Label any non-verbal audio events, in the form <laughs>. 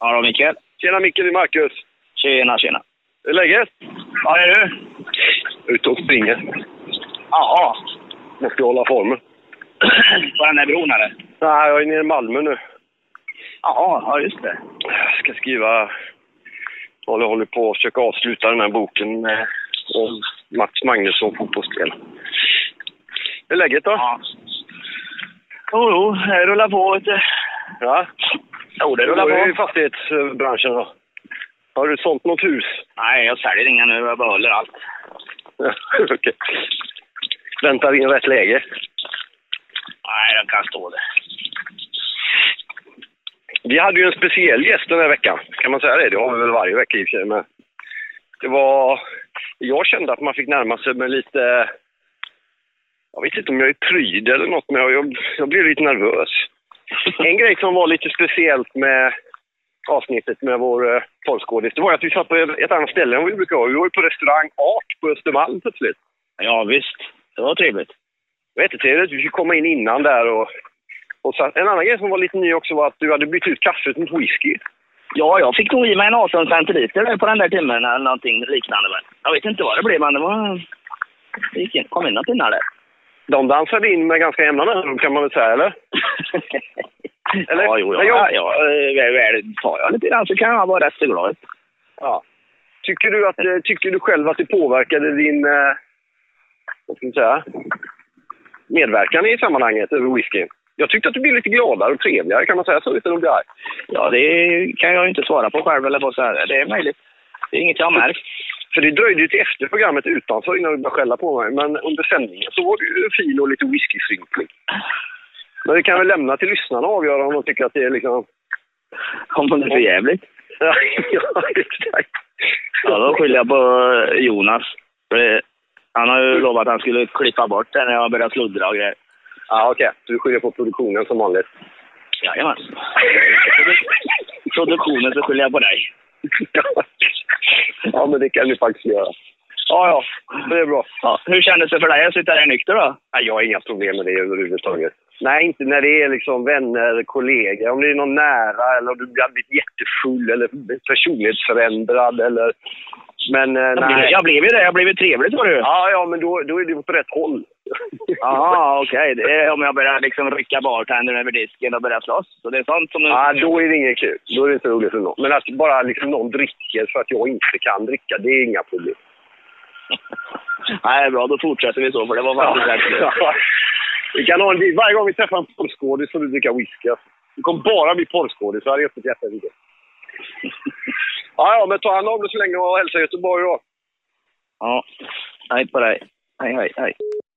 Hallå Mikael. Tjena Micke, det är Marcus. Tjena, tjena. Hur är läget? Ja, det är du? Ute och springer. Jaha. <clears throat> Måste hålla formen. På den där bron eller? Nej, jag är nere i Malmö nu. Jaha, ja just det. Jag ska skriva... Jag håller på att försöka avsluta den här boken med om Mats Magnusson, fotbollsspelare. Hur är läget då? Ja. Jo, jo, det rullar på vet du. Ja. Jo, det Du rullar är i på. fastighetsbranschen då. Har du sålt något hus? Nej, jag säljer inga nu. Jag behåller allt. <laughs> Okej. Väntar in rätt läge. Nej, den kan stå <laughs> det. Vi hade ju en speciell gäst den här veckan. Kan man säga det? Det har vi väl varje vecka i och för sig. Men det var... Jag kände att man fick närma sig med lite... Jag vet inte om jag är pryd eller något, men jag, jag, jag blev lite nervös. En grej som var lite speciellt med avsnittet med vår eh, porrskådis, det var att vi satt på ett annat ställe än vi brukar vara. Vi var ju på restaurang Art på Östermalm plötsligt. Ja, visst. Det var trevligt. Det var jättetrevligt. Vi fick komma in innan där och... och så, en annan grej som var lite ny också var att du hade bytt ut kaffet mot whisky. Ja, jag fick nog i mig en 18 centiliter där på den där timmen eller någonting liknande. Men jag vet inte vad det blev, men det var... Det gick in, kom in något pinnar där. De dansade in med ganska jämna mellanrum kan man väl säga, eller? <laughs> Eller? ja, jo, ja, Nej, ja, jag- ja, eh, väl, väl, tar jag lite grann så kan jag vara rätt så glad. Ja. Tycker du, att, eh, tycker du själv att det påverkade din eh, vad ska man säga, medverkan i sammanhanget över whiskyn? Jag tyckte att du blev lite gladare och trevligare, kan man säga så utan att bli arg? Ja, det kan jag ju inte svara på själv eller vad så här. Det är möjligt. Det är inget jag har märkt. För det dröjde ju till efter programmet utanför innan du började skälla på mig, men under sändningen så var du ju fin och lite whiskysynklig. Men vi kan väl lämna till lyssnarna och avgöra om de tycker att det är liksom... <laughs> Om det är för jävligt. Ja, exakt. Ja, då skyller jag på eh, Jonas. För det- Han har ju lovat att han skulle klippa bort det när jag började sluddra och grejer. Ja, okej. Du skyller på produktionen som vanligt. Jajamän. Produktionen så skyller jag på dig. <laughs> ja, men det kan du faktiskt göra. Ja, ja. Det är bra. Ja, hur kändes det för dig att sitta där nykter då? Nej, jag har inga problem med det överhuvudtaget. Nej, inte när det är liksom vänner, kollegor. Om det är någon nära eller om du har blivit jättefull eller personlighetsförändrad eller... Men eh, Jag blev, nej. jag blev ju det. Jag blev ju trevligt var det ju. Ja, ja, men då, då är du på rätt håll. Jaha, okej. Det är Om jag börjar liksom rycka bartendern över disken och börjar slåss. Så det är sånt som du... <laughs> Ja, då är det inget kul. Då är det inte roligt för någon. Men att bara liksom någon dricker för att jag inte kan dricka, det är inga problem. Nej, bra. Då fortsätter vi så, för det var <laughs> faktiskt rätt kul. Vi kan ha en, vi- varje gång vi träffar en porrskådis får du dricka whisky. alltså. Du kommer bara bli porrskådis. Det här är öppet hjärta i det. Ja, ja, men ta hand om dig så länge och hälsa Göteborg då. Ja. Hej på dig. Hej, hej, hej.